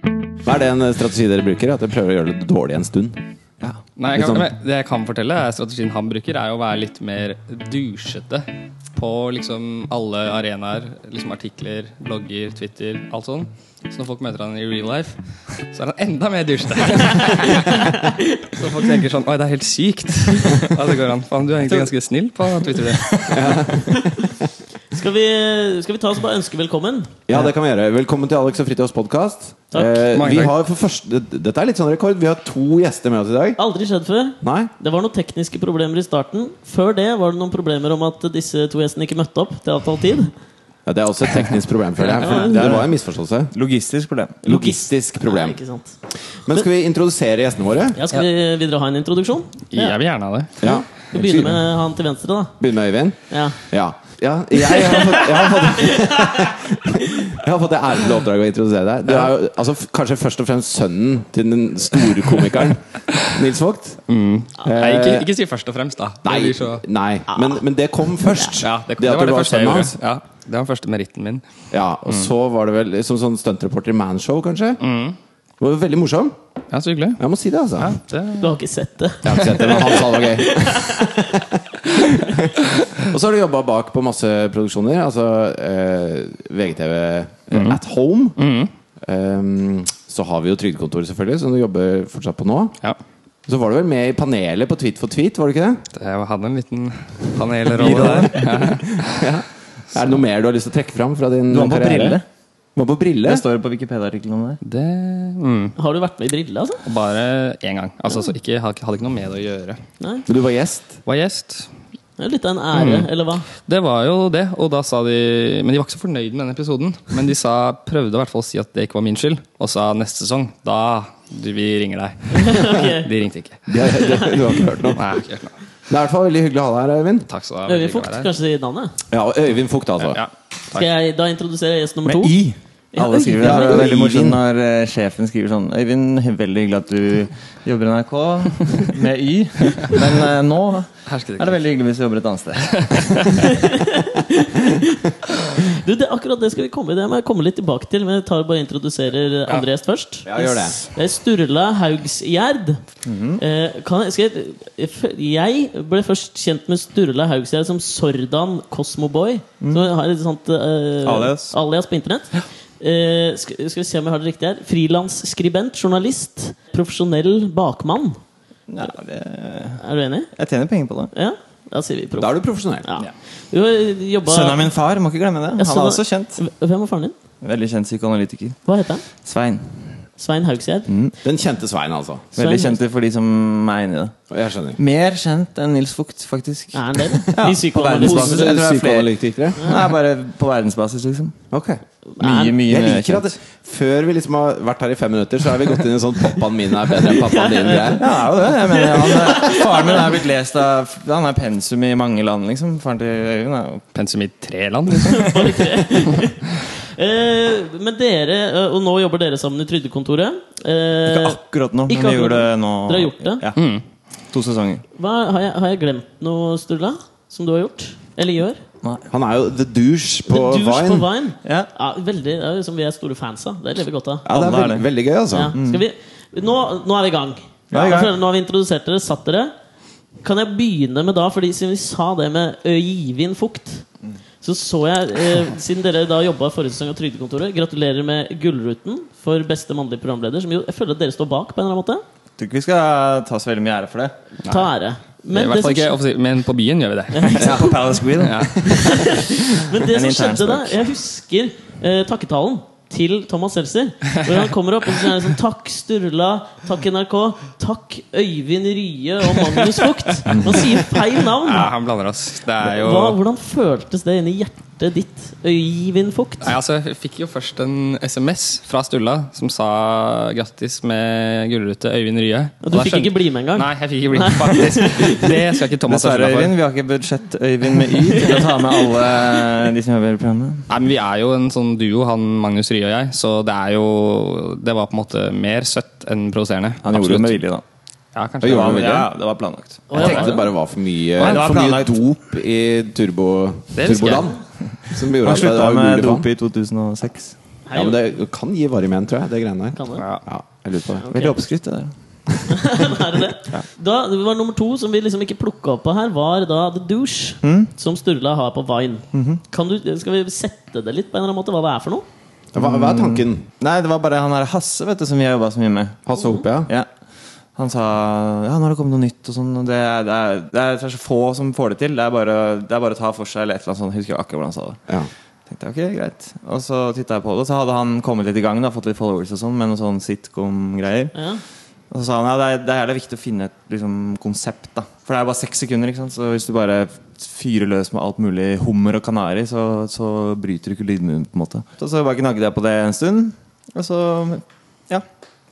Er det en eh, strategi dere bruker? At dere prøver å gjøre det dårlig en stund? Ja. Nei, jeg Litt kan, sånn- men det jeg kan fortelle, er strategien han bruker, er jo å være litt mer dusjete på liksom alle arenaer. Liksom artikler, blogger, Twitter, alt sånn. Så når folk møter han i real life, så er han enda mer dusjete. så folk tenker sånn Oi, det er helt sykt. Og så går han Faen, du er egentlig ganske snill på Twitter. Skal vi, skal vi ta oss og bare ønske velkommen? Ja, det kan vi gjøre. Velkommen til Alex og Fritjofs podkast. Takk. Mange vi takk. har for første, dette er litt sånn rekord. Vi har to gjester med oss i dag. Aldri skjedd før. Nei? Det var noen tekniske problemer i starten. Før det var det noen problemer om at disse to gjestene ikke møtte opp til avtalt tid. Ja, det er også et teknisk problem, føler jeg. For det var en misforståelse. Logistisk problem. Logistisk problem. Nei, ikke sant. Men skal vi introdusere gjestene våre? Ja, skal vi, vil dere ha en introduksjon? Jeg vil gjerne ha det. Ja. Vi begynner med han til venstre, da. Begynne med Øyvind? Ja. Ja. ja jeg, har fått, jeg, har fått, jeg har fått det ærlige oppdraget å introdusere deg. Du er jo altså, f- kanskje først og fremst sønnen til den store komikeren Nils Vogt. Nei, ikke, ikke si først og fremst, da. Det Nei, blir så- nei. Men, men det kom først. Ah. Ja, det, det, var du det første jeg sønnen gjorde. Mm. Ja, det var den første meritten min. Ja, og så var det vel som sånn stuntreporter i Manshow, kanskje? Det var jo veldig morsom. Ja, så hyggelig. Jeg må si det, altså. Mm. Ja, det, Du har ikke sett det. Jeg har ikke sett det, men han sa det var gøy. og så har du jobba bak på masse produksjoner. Altså eh, VGTV Mm. eh, At Home. Ehm, så har vi jo Trygdekontoret, selvfølgelig, som du jobber fortsatt på nå. ja. Så var du vel med i panelet på Tweet for tweet, var du ikke det? Jeg hadde en liten panelrolle Er der. det noe mer du har lyst til å trekke fram fra din Du var på karriere? Brille. Du var på brille? Det står jo på Wikipedia-artikkelen om det. Det mm. Har du vært med i Brille, altså? Bare én gang. Altså, så ikke, hadde ikke- hadde ikke noe med det å gjøre. Nei. Men Du var gjest? Var gjest. Det er litt av en ære, eller hva? Det var jo det, og da sa de Men de var ikke så fornøyd med den episoden. Men de sa, prøvde i hvert fall å si at det ikke var min skyld, og sa neste sesong, da du, Vi ringer deg. De ringte ikke. Det, det, du har ikke hørt noe? Nei, ikke helt nå. Det er i hvert fall veldig hyggelig å ha deg her, Øyvind. Takk skal du ha. Øyvind veldig Fugt, hyggelig å være her. kanskje si navnet? Ja, og Øyvind Fugt, altså. Ja, Skal takk. jeg da introdusere gjest nummer to? Med I. Ja, Alle skriver det. Øyvind. Det er veldig morsomt Øyvind. når eh, sjefen skriver sånn Øyvind, veldig hyggelig at du jobber i NRK med Y, men eh, nå Hersket er det ikke. veldig hyggelig hvis du jobber et annet sted. Du, det, akkurat det skal vi komme, det må jeg komme litt tilbake til, men jeg tar bare introduserer andre gjest først. Ja, gjør det. Det er Sturla Haugsgjerd. Eh, kan jeg, skal jeg, f- jeg ble først kjent med Sturla Haugsgjerd som Sordan Cosmoboy. Som har et sånt eh, Alias. på internett. Eh, skal, skal vi se om jeg har det riktig her. Frilansskribent, journalist, profesjonell bakmann. Ja, det, Er du enig? jeg tjener penger på det. Ja? Da sier vi proff. Da er du profesjonell. Ja. Du har jobba Sønnen av min far, må ikke glemme det. Ja, Han er sønnen- også kjent. Hvem var faren din? Veldig kjent psykoanalytiker. Hva heter han? Svein. Svein Haugsgjerd? Den kjente Svein, altså. Veldig Svein- kjent for de som er inni det. Jeg skjønner. Mer kjent enn Nils Fugt, faktisk. Er han det? eller? Ja, I på verdensbasis. psykoanalysen. Jeg tror det er flere. Psykoanalytikere? Nei, bare på verdensbasis, liksom. Ok. Mye, mye Jeg mer liker at kjent. det, før vi liksom har vært her i fem minutter, så har vi gått inn i en sånn 'pappaen min er bedre enn pappaen din'. greier. Ja, det er jo det. Jeg mener, han, er- faren min er blitt lest av Han er pensum i mange land, liksom. Faren til Øyvind er jo Pensum i tre land, liksom. Eh, Men dere, eh, og nå jobber dere sammen i Trygdekontoret. Eh, ikke akkurat nå, men ikke vi gjorde akkurat det nå. Dere har gjort det? Mm. Ja. To sesonger. Hva, har, jeg, har jeg glemt noe, Sturla? Som du har gjort? Eller gjør? Han er jo the douche på The douche Vine. på Vine. Ja. Ja, veldig, det er jo som vi er store fans av. Det lever vi godt av. Ja, det er Alle er veldig, det. veldig gøy, altså. Ja. Skal vi, nå, nå er vi i gang. Nå er vi i gang. Jeg føler- Nå har vi introdusert dere, satt dere. Kan jeg begynne med da, fordi siden vi sa det med Øyvind Fugt så så jeg, eh, Siden dere da jobba forrige sesong av Trygdekontoret, gratulerer med Gullruten for beste mannlige programleder, som jo jeg føler at dere står bak på en eller annen måte. Jeg tror ikke vi skal ta så veldig mye ære for det. Ta ære. I Men det, hvert som, fall ikke offisielt, men på byen gjør vi det. På Palace Grill. Ja. men det en som intern skjedde da Jeg husker eh, takketalen til Thomas Seltzer. Hvor han kommer opp og så er det sånn Takk Sturla, takk NRK, takk Øyvind Rye og Magnus Fugt. Man sier feil navn. ja, han blander oss. Det er jo Hva, hvordan føltes det inni hjertet ditt, Øyvind Fugt? Nei, altså, jeg fikk jo først en SMS fra Stulla som sa grattis med gullrute Øyvind Rye. Og Og du da fikk ikke bli med engang? Nei, jeg fikk ikke bli med, faktisk. Det skal ikke Thomas ha Dessverre, skylda for. Øyvind. Vi har ikke budsjett Øyvind med Y til å ta med alle de som jobber i programmet. Nei, men Vi er jo en sånn duo, han Magnus Rye og jeg, så det er jo Det var på en måte mer søtt enn provoserende. Han gjorde det med vilje, da. Ja, Ja, gjorde kanskje. det han var- med vilje? Ja, det var planlagt. Å, Jeg ja, tenkte det var det? bare var for mye Nei, det var For mye planlagt. dop i turbo, Det husker jeg. turboland. Som gjorde Han at det slutta var med umulig for dop han. i 2006. Ja, men det kan gi varige men, tror jeg. Det greiene der. Kan det? Ja. Ja. Jeg lurer på det. Veldig oppskrytt, det der. er det det? Da, det var nummer to som vi liksom ikke plukka opp på her, var da The Douche. Mm. Som Sturla har på Vine. Mm-hmm. kan du, skal vi sette det litt på en eller annen måte, hva det er for noe? Hva, hva er tanken? Nei, det var bare han her Hasse, vet du, som vi har jobba så mye med. Hasse Hope, ja? Ja. Han sa ja, nå har det kommet noe nytt og sånn. og Det, er- det, er- det er så få som får det til. Det er bare, det er bare å ta for seg eller et eller annet sånt. Jeg husker akkurat hvordan han sa det. ja. Tenkte jeg, ok, greit Og så titta jeg på det, og så hadde han kommet litt i gang. da Fått litt followers og sånn med noen sånn sitcom-greier. Ja. Og så sa han ja, det er, det er jævlig viktig å finne et liksom, konsept. da For det er bare seks sekunder, ikke sant. Så hvis du bare fyrer løs med alt mulig hummer og kanari, så, så bryter du ikke lydmuren, på en måte. Så, så bare gnagde jeg på det en stund, og så ja.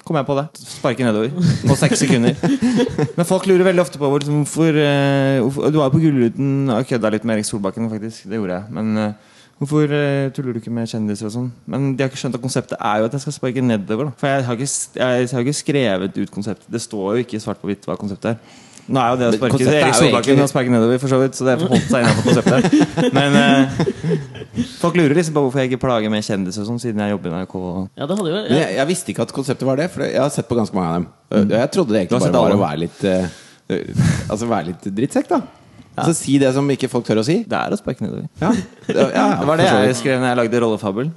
Kom jeg på det. Sparke nedover. På seks sekunder. Men folk lurer veldig ofte på hvor, liksom, hvorfor eh, hvorfor- Du var jo på Gullruten og kødda litt med Erik Solbakken, faktisk. Det gjorde jeg. Men eh, hvorfor eh, tuller du ikke med kjendiser og sånn? Men de har ikke skjønt at konseptet er jo at jeg skal sparke nedover. Da. For jeg har, ikke, s- jeg har jo ikke skrevet ut konseptet. Det står jo ikke svart på hvitt hva konseptet er. Nå er jo det å Men sparke konseptet er Erik jo egentlig- Solbakken og sparke nedover, for så vidt. Så det holdt seg innenfor konseptet. Men eh, folk lurer liksom på hvorfor jeg ikke plager med kjendiser og sånn, siden jeg jobber i NRK. og Ja, det hadde jo Men ja. jeg, jeg visste ikke at konseptet var det, for jeg har sett på ganske mange av dem. Og Jeg trodde det Du har egentlig sett bare var alle? å være litt eh, Altså være litt drittsekk, da. Altså Si det som ikke folk tør å si. Det er å sparke nedover. Ja, ja, ja Det var det for så jeg vidt. skrev når jeg lagde Rollefabel.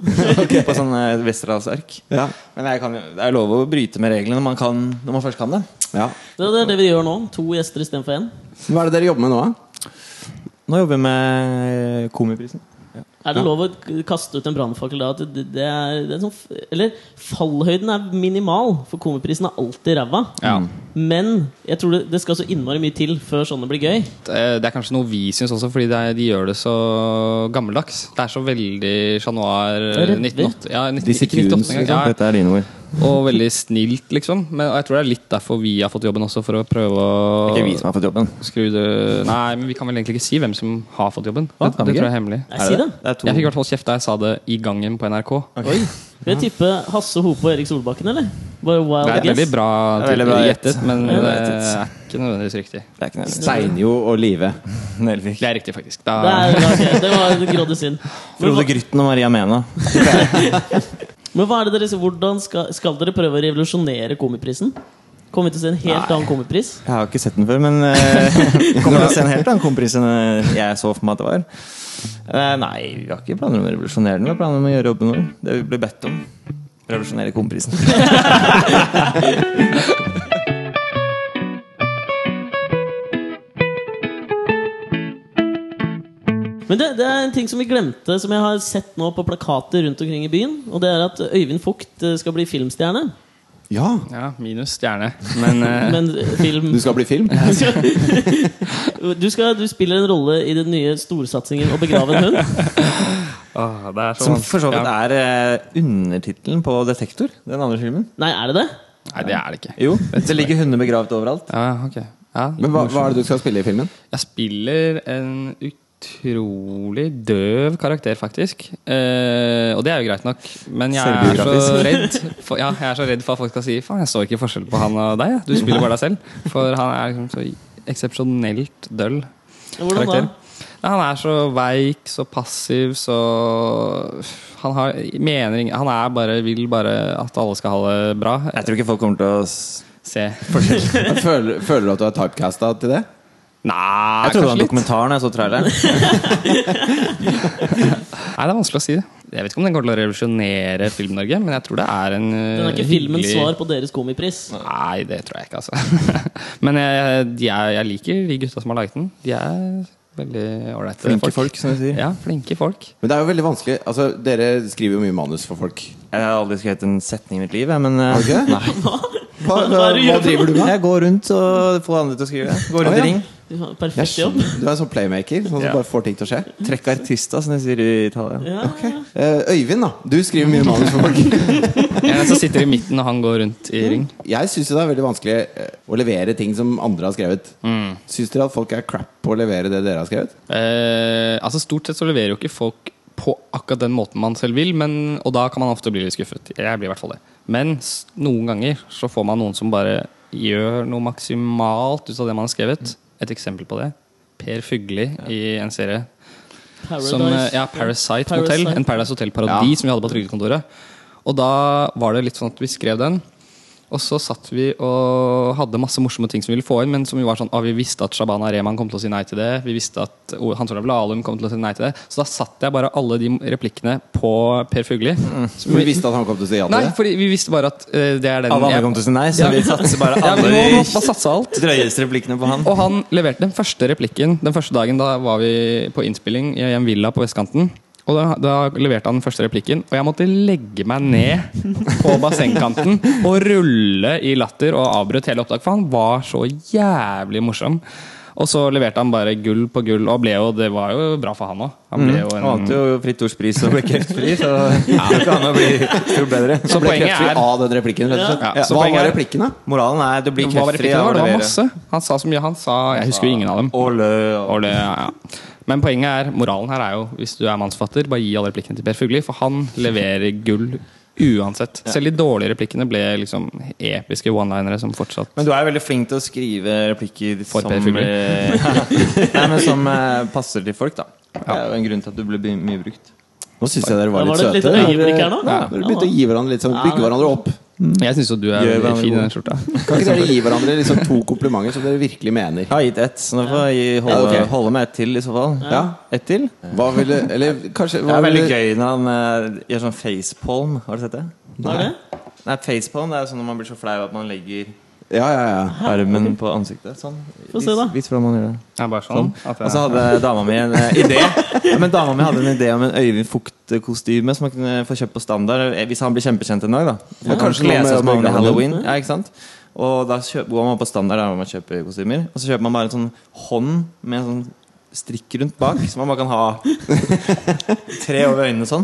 På sånn eh, Westerås-ark. Ja. Men jeg kan, jo- det er lov å bryte med reglene når man, kan, når man først kan det. Ja. Det er det vi gjør nå. To gjester istedenfor én. Hva er det dere jobber med nå, da? Nå jobber vi med Komiprisen. Er det lov å k- kaste ut en brannfakkel da? At det, det er, det er sånn, f- eller fallhøyden er minimal, for komiprisen er alltid ræva. Ja. Mm. Men jeg tror det, det skal så innmari mye til før sånne blir gøy. Eh, Det er kanskje noe vi syns også, fordi det er, de gjør det så gammeldags. Det er så veldig Chat Noir Det er eh, revy. 1980. Ja, 19, Disse ikke 1980 kuns, engang. Dette er dine ord. Ja, og veldig snilt, liksom. Men og jeg tror det er litt derfor vi har fått jobben også, for å prøve å Ikke vi som har fått jobben. skru det Nei, men vi kan vel egentlig ikke si hvem som har fått jobben. Hva? Det, Kan vi det ikke? tror jeg er hemmelig. Nei, si det. Det er to. Jeg fikk i hvert fall kjeft da jeg sa det i gangen på NRK. Skal jeg tippe Hasse Hope og Erik Solbakken, eller? Bare wild Det er guess. veldig bra Det er veldig bra gjettet, men Ja, det det er er ikke nødvendigvis riktig. Det er ikke Nelvik. Steinjo og Live. Nelvik. Det er riktig, faktisk. Da, Det, er, ja, ok, det var grådig synd. Men, Frode hva- Grytten og Maria Mena. men hva er det dere, hvordan skal, skal dere prøve å revolusjonere komiprisen? Kommer vi til å se en helt annen komipris? Jeg har ikke sett den før, men eh, kommer til å se en helt annen kompris enn eh, jeg så for meg at det var. Eh, nei, vi har ikke planer om å revolusjonere den. Vi har planer om å gjøre jobben vår. Det vi ble bedt om. Revolusjonere komprisen. Men det, det er en ting som vi glemte, som jeg har sett nå på plakater rundt omkring i byen. Og det er at Øyvind Fugt eh, skal bli filmstjerne. Ja! ja, minus stjerne. Men eh, Men eh, film Du skal bli film? Du skal- du, skal, du spiller en rolle i den nye storsatsingen 'Å begrave en hund'. åh, Ah, det er så Som for så vidt ja. er eh, undertittelen på Detektor, den andre filmen. Nei, er det det? Nei, det er det ikke. Jo, det ligger hunder begravet overalt. Ja, ok. Ja. Men hva, hva er det du skal spille i filmen? Jeg spiller en utrolig døv karakter, faktisk. Eh, og det er jo greit nok, men jeg er så redd for, ja, jeg er så redd for at folk skal si faen, jeg så ikke forskjell på han og deg. jeg. Du spiller bare deg selv. For han er liksom så eksepsjonelt døll. Ja, Hvordan da? karakter. Nei, han er så veik, så passiv, så Han har mener ingen Han er bare, vil bare at alle skal ha det bra. Jeg tror ikke folk kommer til å s- Se. Føler, føler du at du er typecasta til det? Nei, Jeg trodde det kanskje var litt. dokumentaren da jeg så traileren. Nei, det er vanskelig å si det. Jeg vet ikke om den kommer til å revolusjonere Film-Norge, men jeg tror det er en eh, Den er ikke filmens svar på deres komipris. Nei, det tror jeg ikke, altså. men jeg, de er, jeg liker de gutta som har laget den. De er veldig ålreite Flinke folk, som du sier. Ja, flinke folk. Men det er jo veldig vanskelig. Altså, dere skriver jo mye manus for folk. Jeg har aldri skrevet en setning i mitt liv, jeg, men eh, Har du ikke? nei. Hva, hva, Hva er det du hva gjør? driver du med? Jeg går rundt og får andre til å skrive. Går Å, rundt ja. i ring. Ja, Jeg Perfekt jobb. skjønner. Du er en sånn playmaker sånn som Ja. bare får ting til å skje. Trekke artister, som de sier i Italia. Ja. Eh, Øyvind, da. Du skriver mye manus for folk. Jeg er den som sitter i midten, og han går rundt i ring. Jeg syns det er veldig vanskelig eh, å levere ting som andre har skrevet. Syns dere at folk er crap på å levere det dere har skrevet? Eh, altså Stort sett så leverer jo ikke folk på akkurat den måten man selv vil, men, og da kan man ofte bli litt skuffet. Jeg blir i hvert fall det. Men s- noen ganger så får man noen som bare gjør noe maksimalt ut av det man har skrevet. Et eksempel på det. Per Fugli i en serie Paradise. som, eh, ja, Parasite, Hotel. Parasite. En Paradise Hotel-parodi som vi hadde på Trygdekontoret. Og da var det litt sånn at vi skrev den, Og så satt vi og hadde masse morsomme ting som vi ville få inn, men som jo var sånn, ah, vi visste at Shabana Rehman kom til å si nei til det. Vi visste at O- Hans Olav Lahlum kom til å si nei til det. Så da satt jeg bare alle de replikkene på Per Fugelli. Mm. Som Vi visste at han kom til å si ja til Nei, det. fordi vi visste bare at eh, det er den Alle andre jeg- kom til å si nei, så vi satser bare ja, alle vi må, må, de må satse alt. drøyeste replikkene på han. Og han leverte den første replikken den første dagen. Da var vi på innspilling i en villa på vestkanten. Og da, da leverte han den første replikken, og jeg måtte legge meg ned på bassengkanten og rulle i latter og avbrøt hele opptaket, for han var så jævlig morsom. Og så leverte han bare gull på gull, og ble jo, det var jo bra for han òg. Han ble jo Han en vant jo Fritt Ords pris og ble kreftfri, så det kan jo bli stort bedre. Så Ble poenget kreftfri er av den replikken, rett og slett. Ja, så Hva poenget var er- replikken, da? Moralen er du blir Hva var kreftfri replikken? Det av var, å det var levere. masse. Han sa så mye. Han sa Jeg husker jo ingen av dem. Og lø og Og det, ja. Men poenget er, moralen her er jo hvis du er mannsfatter, bare gi alle replikkene til Per Fugli, for han leverer gull uansett. Selv de dårlige replikkene ble liksom episke one-linere som fortsatt Men du er jo veldig flink til å skrive replikker For som, Per Fugelli. eh, Nei, men som eh, passer til folk, da. Det er jo en grunn til at du ble by- mye brukt. Nå syns jeg dere Da var var litt det et søte. lite øyeblikk her nå. Ja, Dere begynte å gi hverandre litt sånn, Ja, bygge det- hverandre opp. Jeg syns jo du er veldig Gjør hverandre fin i den god. skjorta. Kan ikke dere gi hverandre liksom to komplimenter som dere virkelig mener? Jeg har gitt ett, så nå får jeg gi- holde, Ja, ok. holde med ett til, i så fall. Ja. Ett til? Hva ville Eller kanskje Det hva er veldig ville- gøy når han eh, gjør sånn facepalm. Har du sett det? Hva er det? Nei, facepalm det er sånn når man blir så flau at man legger Ja, ja, ja. armen på ansiktet. Sånn. Få se, da. Vis- Vis hvordan man gjør det. Jeg er bare sånn at Og Altså, så jeg, hadde dama mi en eh, idé Ja, Men dama mi hadde en idé om en Øyvind Fugt-kostyme som man kunne få kjøpt på standard eh, hvis han blir kjempekjent en dag. da Man kan kanskje noe kle med seg som han i Magne Halloween. Ja, ikke sant? Og da kjøper, går man på standard der hvor man kjøper kostymer. Og så kjøper man bare en sånn hånd med en sånn strikk rundt bak, som man bare kan ha tre over øynene sånn.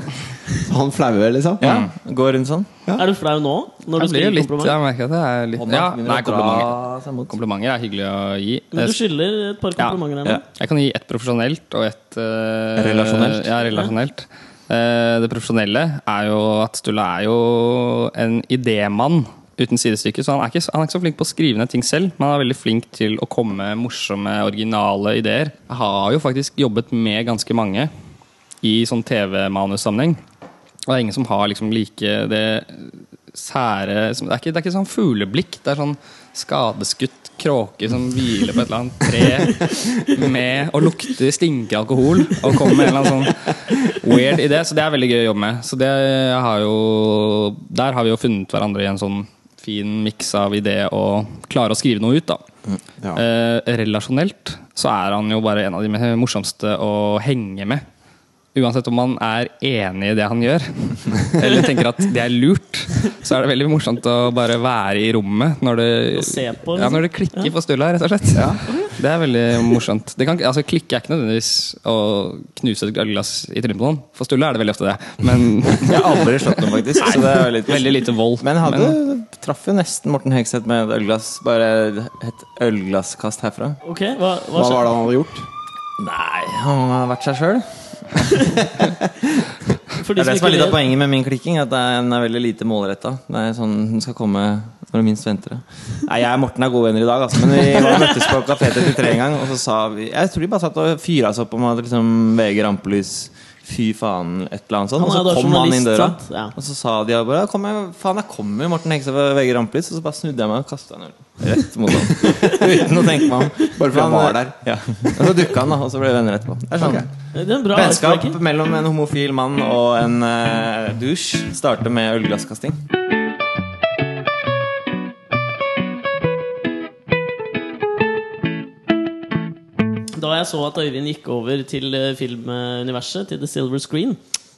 Han flaue, liksom? Ja, Går rundt sånn. Er du flau nå? Når jeg blir jo du skal gi litt kompliment? Jeg merker at jeg er litt Hånda Ja, begynner nei, å komplimenter. dra seg mot. Komplimenter er hyggelig å gi. Men du Jeg, skylder et par Ja. komplimenter her Ja. nå. jeg kan gi ett profesjonelt og ett eh, Relasjonelt. Ja, relasjonelt. Eh, det profesjonelle er jo at Stulle er jo en idémann uten sidestykke. Så han er, ikke, så- han er ikke så flink på å skrive ned ting selv, men han er veldig flink til å komme med morsomme, originale ideer. Jeg har jo faktisk jobbet med ganske mange i sånn TV-manussammenheng. Og det er ingen som har liksom like det sære som, det, er ikke, det er ikke sånn fugleblikk. Det er sånn skadeskutt kråke som hviler på et eller annet tre med, og lukter, stinker alkohol og kommer med en eller annen sånn weird idé, så det er veldig gøy å jobbe med. Så det har jo Der har vi jo funnet hverandre i en sånn fin miks av idé og klare å skrive noe ut, da. Ja. Eh, relasjonelt så er han jo bare en av de me- morsomste å henge med. Uansett om man er enig i det han gjør, eller tenker at det er lurt, så er det veldig morsomt å bare være i rommet når det, Og se på, liksom. ja, når det klikker for Stulla, rett og slett. Det er veldig morsomt. Det kan, altså, klikke er ikke nødvendigvis å knuse et ølglass i trynet på noen. For Stulla er det veldig ofte det. Men Jeg har aldri slått noen, faktisk. Så det er jo litt veldig lite vold. Men hadde traff jo nesten Morten Hegseth med et ølglass. Bare et ølglasskast herfra. Ok, hva, hva, Hva skje- var det han hadde gjort? Nei, han har vært seg sjøl. For de Det er det som som er litt ikke av vet, poenget med min klikking. At det er- den er veldig lite målretta. Det er sånn, den skal komme når du minst venter det. Nei, jeg og Morten er gode venner i dag, altså. Men vi var- møttes på Kafé 33 en gang, og så sa vi Jeg tror de bare satt og fyra seg opp om at liksom VG rampelys Fy faen, et eller annet sånt. Han Og er så da kom han inn journalist, døra, sant? Ja. og så sa de bare kom jeg, Faen, jeg kommer jo, Morten Hegstad fra VG rampelys. Og så bare snudde jeg meg og kasta en øl rett mot ham. Uten å tenke meg om. Bare fordi han var eh, der. Ja. Og så dukka han, da, og så ble vi venner etterpå. Det er sånn. Ok. det er en bra Vennskap icebreaker. mellom en homofil mann og en uh, dusj starter med ølglasskasting. Da jeg så at Øyvind gikk over til eh, filmuniverset, til The Silver Screen,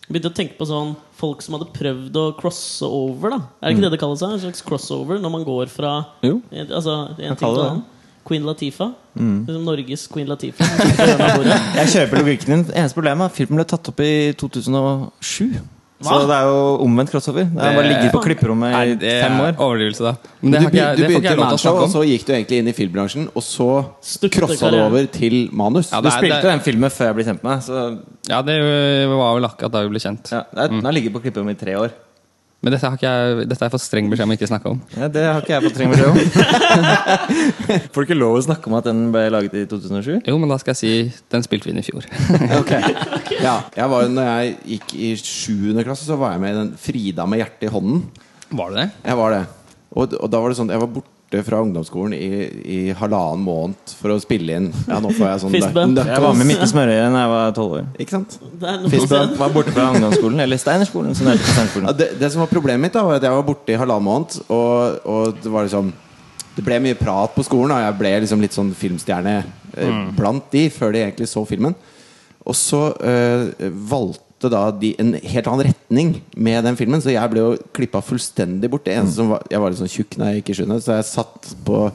begynte jeg å tenke på sånn folk som hadde prøvd å crosse over. da Er det ikke det det kalles? da? En slags crossover når man går fra Mm. Jo. eh, altså, en ting kaller til det Mm. annen. Queen Latifa. Liksom Norges Queen Latifa. som sitter på hjørnet av bordet. Jeg kjøper logikken din. Eneste problemet er at filmen ble tatt opp i 2007. Så Hva? det er jo omvendt crossover. Det har bare Det- ligget på klipperommet Nei, i det er fem år. overdrivelse, da. Men det, Du, har ikke, jeg- du det får ikke begynte i jeg lov til å manshow, snakke og om. altså? så gikk du egentlig inn i filmbransjen, og så Støtte crossa du karriere. over til manus. Ja, Du det er- spilte det- den filmen før jeg ble kjent med deg. Så Ja, det var vel akkurat da vi ble kjent. ja, det er- den har ligget på klipperommet i tre år. Men dette, har ikke jeg, dette har jeg fått streng beskjed om å ikke snakke om. Ja, det har ikke jeg fått trenger beskjed om. Får du ikke lov å snakke om at den ble laget i 2007? Jo, men da skal jeg si den spilte vi inn i fjor. Ok. ja, jeg var, når jeg gikk i sjuende klasse, så var jeg med i den Frida med hjertet i hånden. Var det det? Jeg var det. Og, og da var det sånn Jeg var borte fra ungdomsskolen i, i halvannen måned for å spille inn. Ja, nå får jeg sånn Fistbump. nø- nø- Jeg var med Mikke Smørøye da jeg var tolv år. Ikke sant? Det er noe Fisbøen sånn. var borte fra ungdomsskolen, eller Steinerskolen. Som det heter på Ja, Steinerskolen. det, det som var problemet mitt, da var at jeg var borte i halvannen måned, og, og det var liksom Det ble mye prat på skolen, og jeg ble liksom litt sånn filmstjerne eh, blant de før de egentlig så filmen. Og så eh, valgte da de en helt annen retning med den filmen, så jeg ble jo klippa fullstendig bort. Det eneste som var, Jeg var litt sånn tjukk da jeg gikk i sjuende, så jeg satt på,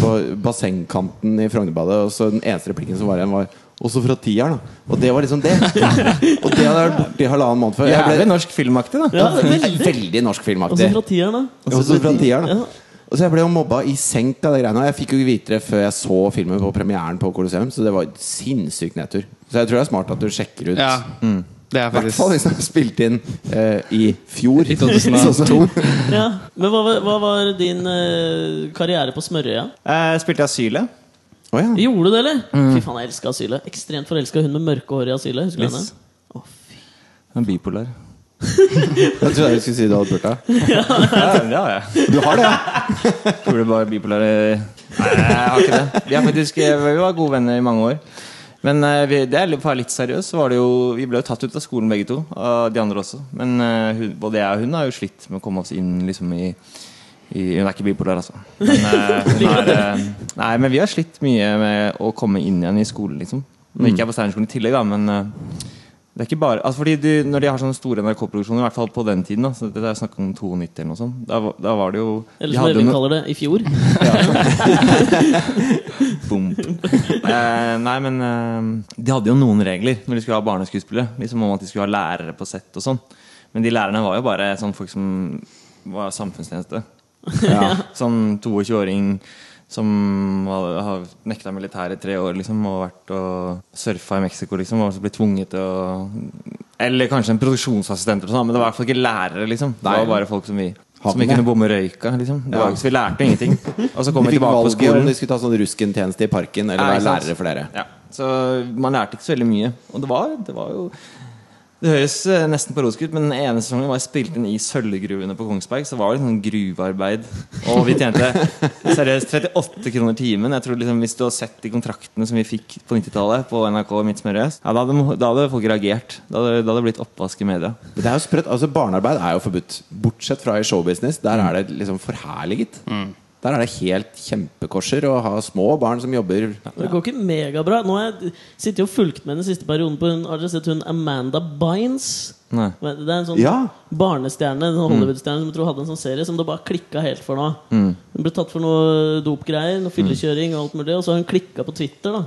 på bassengkanten i Frognerbadet, og så den eneste replikken som var igjen, var også fra tieren, da. Og det var liksom det. Og det hadde jeg vært borte i halvannen måned før. Jeg ble- Jævlig norsk filmaktig, da. Ja, Veldig, veldig. norsk Også filmaktig. fra tieren, da. Også fra tieren, da. Ja. Og så jeg ble jo mobba i senk av det greiene. Og jeg fikk jo ikke vite det før jeg så filmen på premieren på Colosseum, så det var sinnssyk nedtur. Så jeg tror det er smart at du sjekker ut. Ja, det er I hvert faktisk fall hvis den er spilt inn eh, i fjor. I 2002. Ja. Men hva var, hva var din eh, karriere på Smørøya? Eh, spilte i Asylet. Å ja. Gjorde du det, eller? Mm. Fy faen, jeg elska asylet. Ekstremt forelska hun med mørke hår i asylet. Husker du henne? Liss. En bipolar. Jeg trodde jeg skulle si du hadde spurt deg. Ja, det har jeg. Du har det, ja? Tror du bare bipolar eh, Nei, jeg har ikke det. Vi, er faktisk, eh, vi var gode venner i mange år. Men eh, vi, det er litt, for å være litt seriøst, så var det jo Vi ble jo tatt ut av skolen begge to. Og de andre også. Men eh, hun, både jeg og hun har jo slitt med å komme oss inn liksom i i, hun er ikke bipolar, altså. Men, eh, hun er, eh, nei, men vi har slitt mye med å komme inn igjen i skolen, liksom. Nå gikk jeg på Steinerskolen i tillegg, da, men eh, det er ikke bare altså, fordi de, Når de har sånne store NRK-produksjoner, i hvert fall på den tiden, da, så det er snakk om 92 eller noe sånt, da, var- da var det jo Eller de som hadde Øyvind no- kaller det, i fjor. Bom. Eh, nei, men eh, de hadde jo noen regler når de skulle ha barneskuespillere. Liksom om at de skulle ha lærere på sett og sånn. Men de lærerne var jo bare sånn folk som var samfunnstjeneste. Sånn 22-åring som hadde- har nekta militæret i tre år liksom, og vært og surfa i Mexico. Liksom, og så blitt tvunget til å Eller kanskje en produksjonsassistent, eller sånn, men det var i hvert fall ikke lærere. Liksom. Det Nei. var bare folk som vi Havne. som vi kunne bomme røyka. Liksom. Det Ja. var, jo ikke- så vi lærte jo ingenting. Og så kom De vi fikk tilbake på valget om skolen. de skulle ta sånn ruskentjeneste i parken, eller Nei, være sant. lærere for dere. Ja, så man lærte ikke så veldig mye. Og det var, det var jo Det høres eh, nesten parodisk ut, men den ene sesongen var jeg spilt inn i sølvgruvene på Kongsberg. Så var det sånn gruvearbeid. Og vi tjente seriøst 38 kroner timen. Jeg tror liksom Hvis du har sett de kontraktene som vi fikk på 90-tallet på NRK Midt Smørøs, ja, da, hadde- da hadde folk reagert. Da hadde, da hadde det blitt oppvask i media. Men det er jo sprøtt, altså Barnearbeid er jo forbudt. Bortsett fra i showbusiness. Der er det liksom forherliget. Mm. Der er det helt kjempekorser å ha små barn som jobber Det går ikke megabra. Nå har jeg sittet og fulgt med den siste perioden på hun, har dere sett hun Amanda Bynes? Nei. Det er en sånn Ja. barnestjerne en sånn Hollywood-stjerne som jeg tror hadde en sånn serie som det bare klikka helt for nå. Hun ble tatt for noe dopgreier, noe fyllekjøring og alt mulig, og så har hun klikka på Twitter da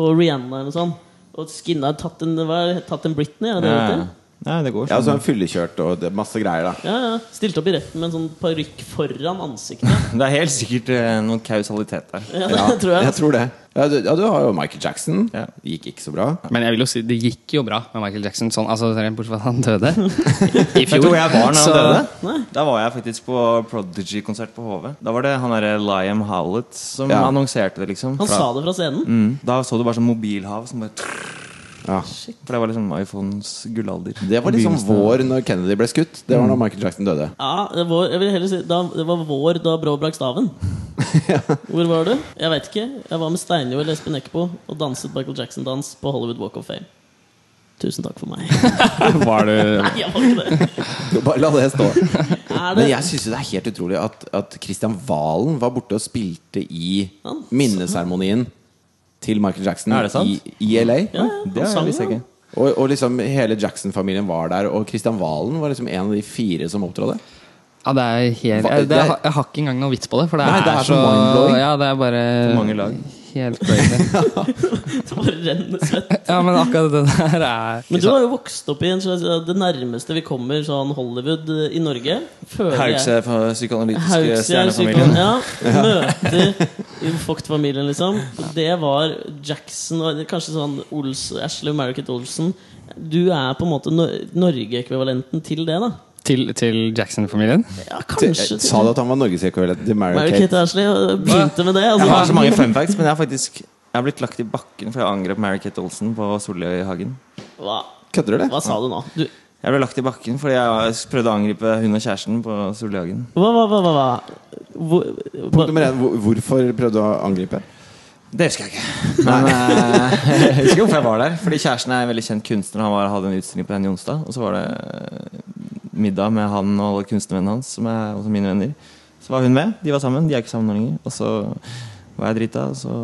på Rihanna eller noe sånt. Og skinna har tatt en, hva er det, tatt en Britney, er det det heter? Nei, det går Ja, så sånn. han fyllekjørt og det, masse greier, da. Ja, ja. Stilte opp i retten med en sånn parykk foran ansiktet. altså- Det er helt sikkert eh, noen kausalitet der. Ja, det tror jeg. tror det. Ja, du, ja, du har jo Michael Jackson. Ja. Det gikk ikke så bra. Men jeg vil jo si det gikk jo bra med Michael Jackson, sånn, altså, bortsett fra at han døde i Vet fjor. du hvor jeg var når han Så- døde? Da var jeg faktisk på Prodigy-konsert på HV. Da var det han derre Liam Howlett som Ja. annonserte det, liksom. Han sa det fra scenen. Mm. Da så du bare sånn mobilhav som bare Ja. For det var liksom iPhones gullalder. Det var liksom Begynnelsen av- vår når Kennedy ble skutt. Det Mm. var når Michael Jackson døde. Ja, det var, jeg vil heller si da, Det var vår da Brå brakk staven. Hvor var du? Jeg veit ikke. Jeg var med Steinjo eller Espen Eckbo og danset Michael Jackson-dans på Hollywood Walk of Fame. Tusen takk for meg. Var du Nei, jeg var ikke det. Bare la det stå. Er Men det? jeg syns det er helt utrolig at, at Christian Valen var borte og spilte i Han- minneseremonien til Michael Jackson Er det sant? i, i LA. Ja, Det han sang, visste jeg ja. ikke. Og, og liksom hele Jackson-familien var der, og Christian Valen var liksom en av de fire som opptrådte. Ja, det er helt Hva- jeg, det, det er- jeg har ikke engang noe vits på det, for det, Nei, det er er, så så mindblowing. Ja, det er bare For mange lag. Helt crazy. Det bare renner svett. Ja, men akkurat det der er Men du har jo vokst opp i en slags, det nærmeste vi kommer sånn Hollywood eh, i Norge. Føler jeg. Haugs er fra psykoanalytiske Haugs, ja, stjernefamilien. psyko- Ja, møter Vogt-familien, liksom. Det var Jackson og kanskje sånn Ols, Ashley og Maricot Olsen. Du er på en måte Nor Norge-ekvivalenten til det, da? Til, til Jackson-familien? Ja, Til- kanskje. Sa du at han var norgesekvivalenten til Mary Kate? Maricot Ashley og begynte med det. Jeg har så Altså. mange fun facts, men jeg har faktisk jeg har blitt lagt i bakken for jeg angrep Mary Kate Olsen på Solli i Hagen. Hva, Kødder du, eller? hva sa du nå? Du, Jeg ble lagt i bakken fordi jeg prøvde å angripe hun og kjæresten på Soljagen. Hva, hva, hva, hva, hva? Hvor, Punkt nummer én. hvor- Hvorfor prøvde du å angripe? Det husker jeg ikke. Men eh, jeg husker hvorfor jeg var der. Fordi kjæresten er en veldig kjent kunstner. Han var, hadde en utstilling på Henny Jonstad. Og så var det eh, middag med han og alle kunstnervennene hans, som er også mine venner. Så var hun med. De var sammen. De er ikke sammen nå lenger. Og så var jeg drita, og så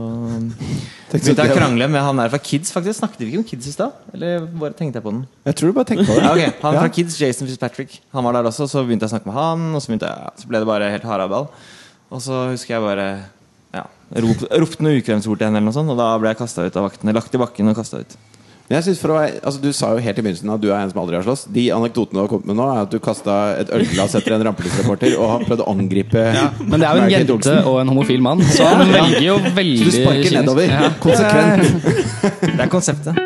Tenkte begynte jeg å du- krangle med han der fra Kids, faktisk. Snakket vi ikke om Kids i stad? Eller bare tenkte jeg på den? Jeg tror du bare tenkte på det. Ja, ok. Han Ja. fra Kids, Jason Fitzpatrick, han var der også. Så begynte jeg å snakke med han, og så, begynte jeg, så ble det bare helt haraball. Og så husker jeg bare ja, rop, ropte noen ukvemsord til henne, eller noe sånt, og da ble jeg kasta ut av vaktene. Lagt i bakken og kasta ut. Men jeg synes for å være, altså Du sa jo helt i begynnelsen at du er en som aldri har slåss. De anekdotene du har kommet med nå, er at du kasta et ølglass etter en rampelysreporter og har prøvd å angripe Men det er jo en Mary Kate jente Olsen. og en homofil mann, så han velger jo veldig Så du sparker kynisk. nedover. Ja. Konsekvent. Det er konseptet.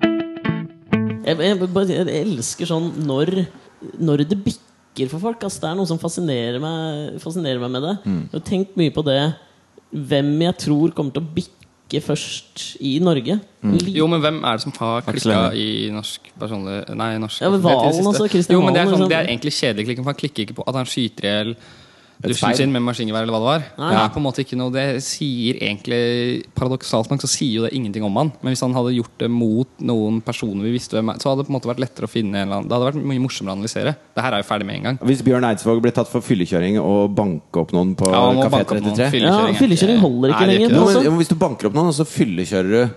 Jeg, jeg, bare- jeg elsker sånn når, når det bikker for folk. ass. det er noe som fascinerer meg, fascinerer meg med det. Mm. Jeg har tenkt mye på det hvem jeg tror kommer til å bikke først i Norge. Mm. Li- Jo, men hvem er det som har Aksel klikka i norsk personlig Nei, norsk Ja, offentlighet men i det Valen siste? også, Kristian Jo, men det er, Valen, sånn, liksom. det er egentlig kjedelig klikking, for han klikker ikke på at han skyter i hjel speil. dusjen sin med maskingevær eller hva det var. Nei. Det er på en måte ikke noe Det sier egentlig Paradoksalt nok så sier jo det ingenting om han. Men hvis han hadde gjort det mot noen personer vi visste hvem er, så hadde det på en måte vært lettere å finne en eller annen Det hadde vært mye morsommere å analysere. Det her er jo ferdig med en gang. Hvis Bjørn Eidsvåg blir tatt for fyllekjøring og banke opp noen på Ja, han må Kafé banke opp noen. 33 Ja, er ikke- fyllekjøring holder ikke Nei, det er lenger. jo, men, Altså- jo, men Hvis du banker opp noen, og så fyllekjører du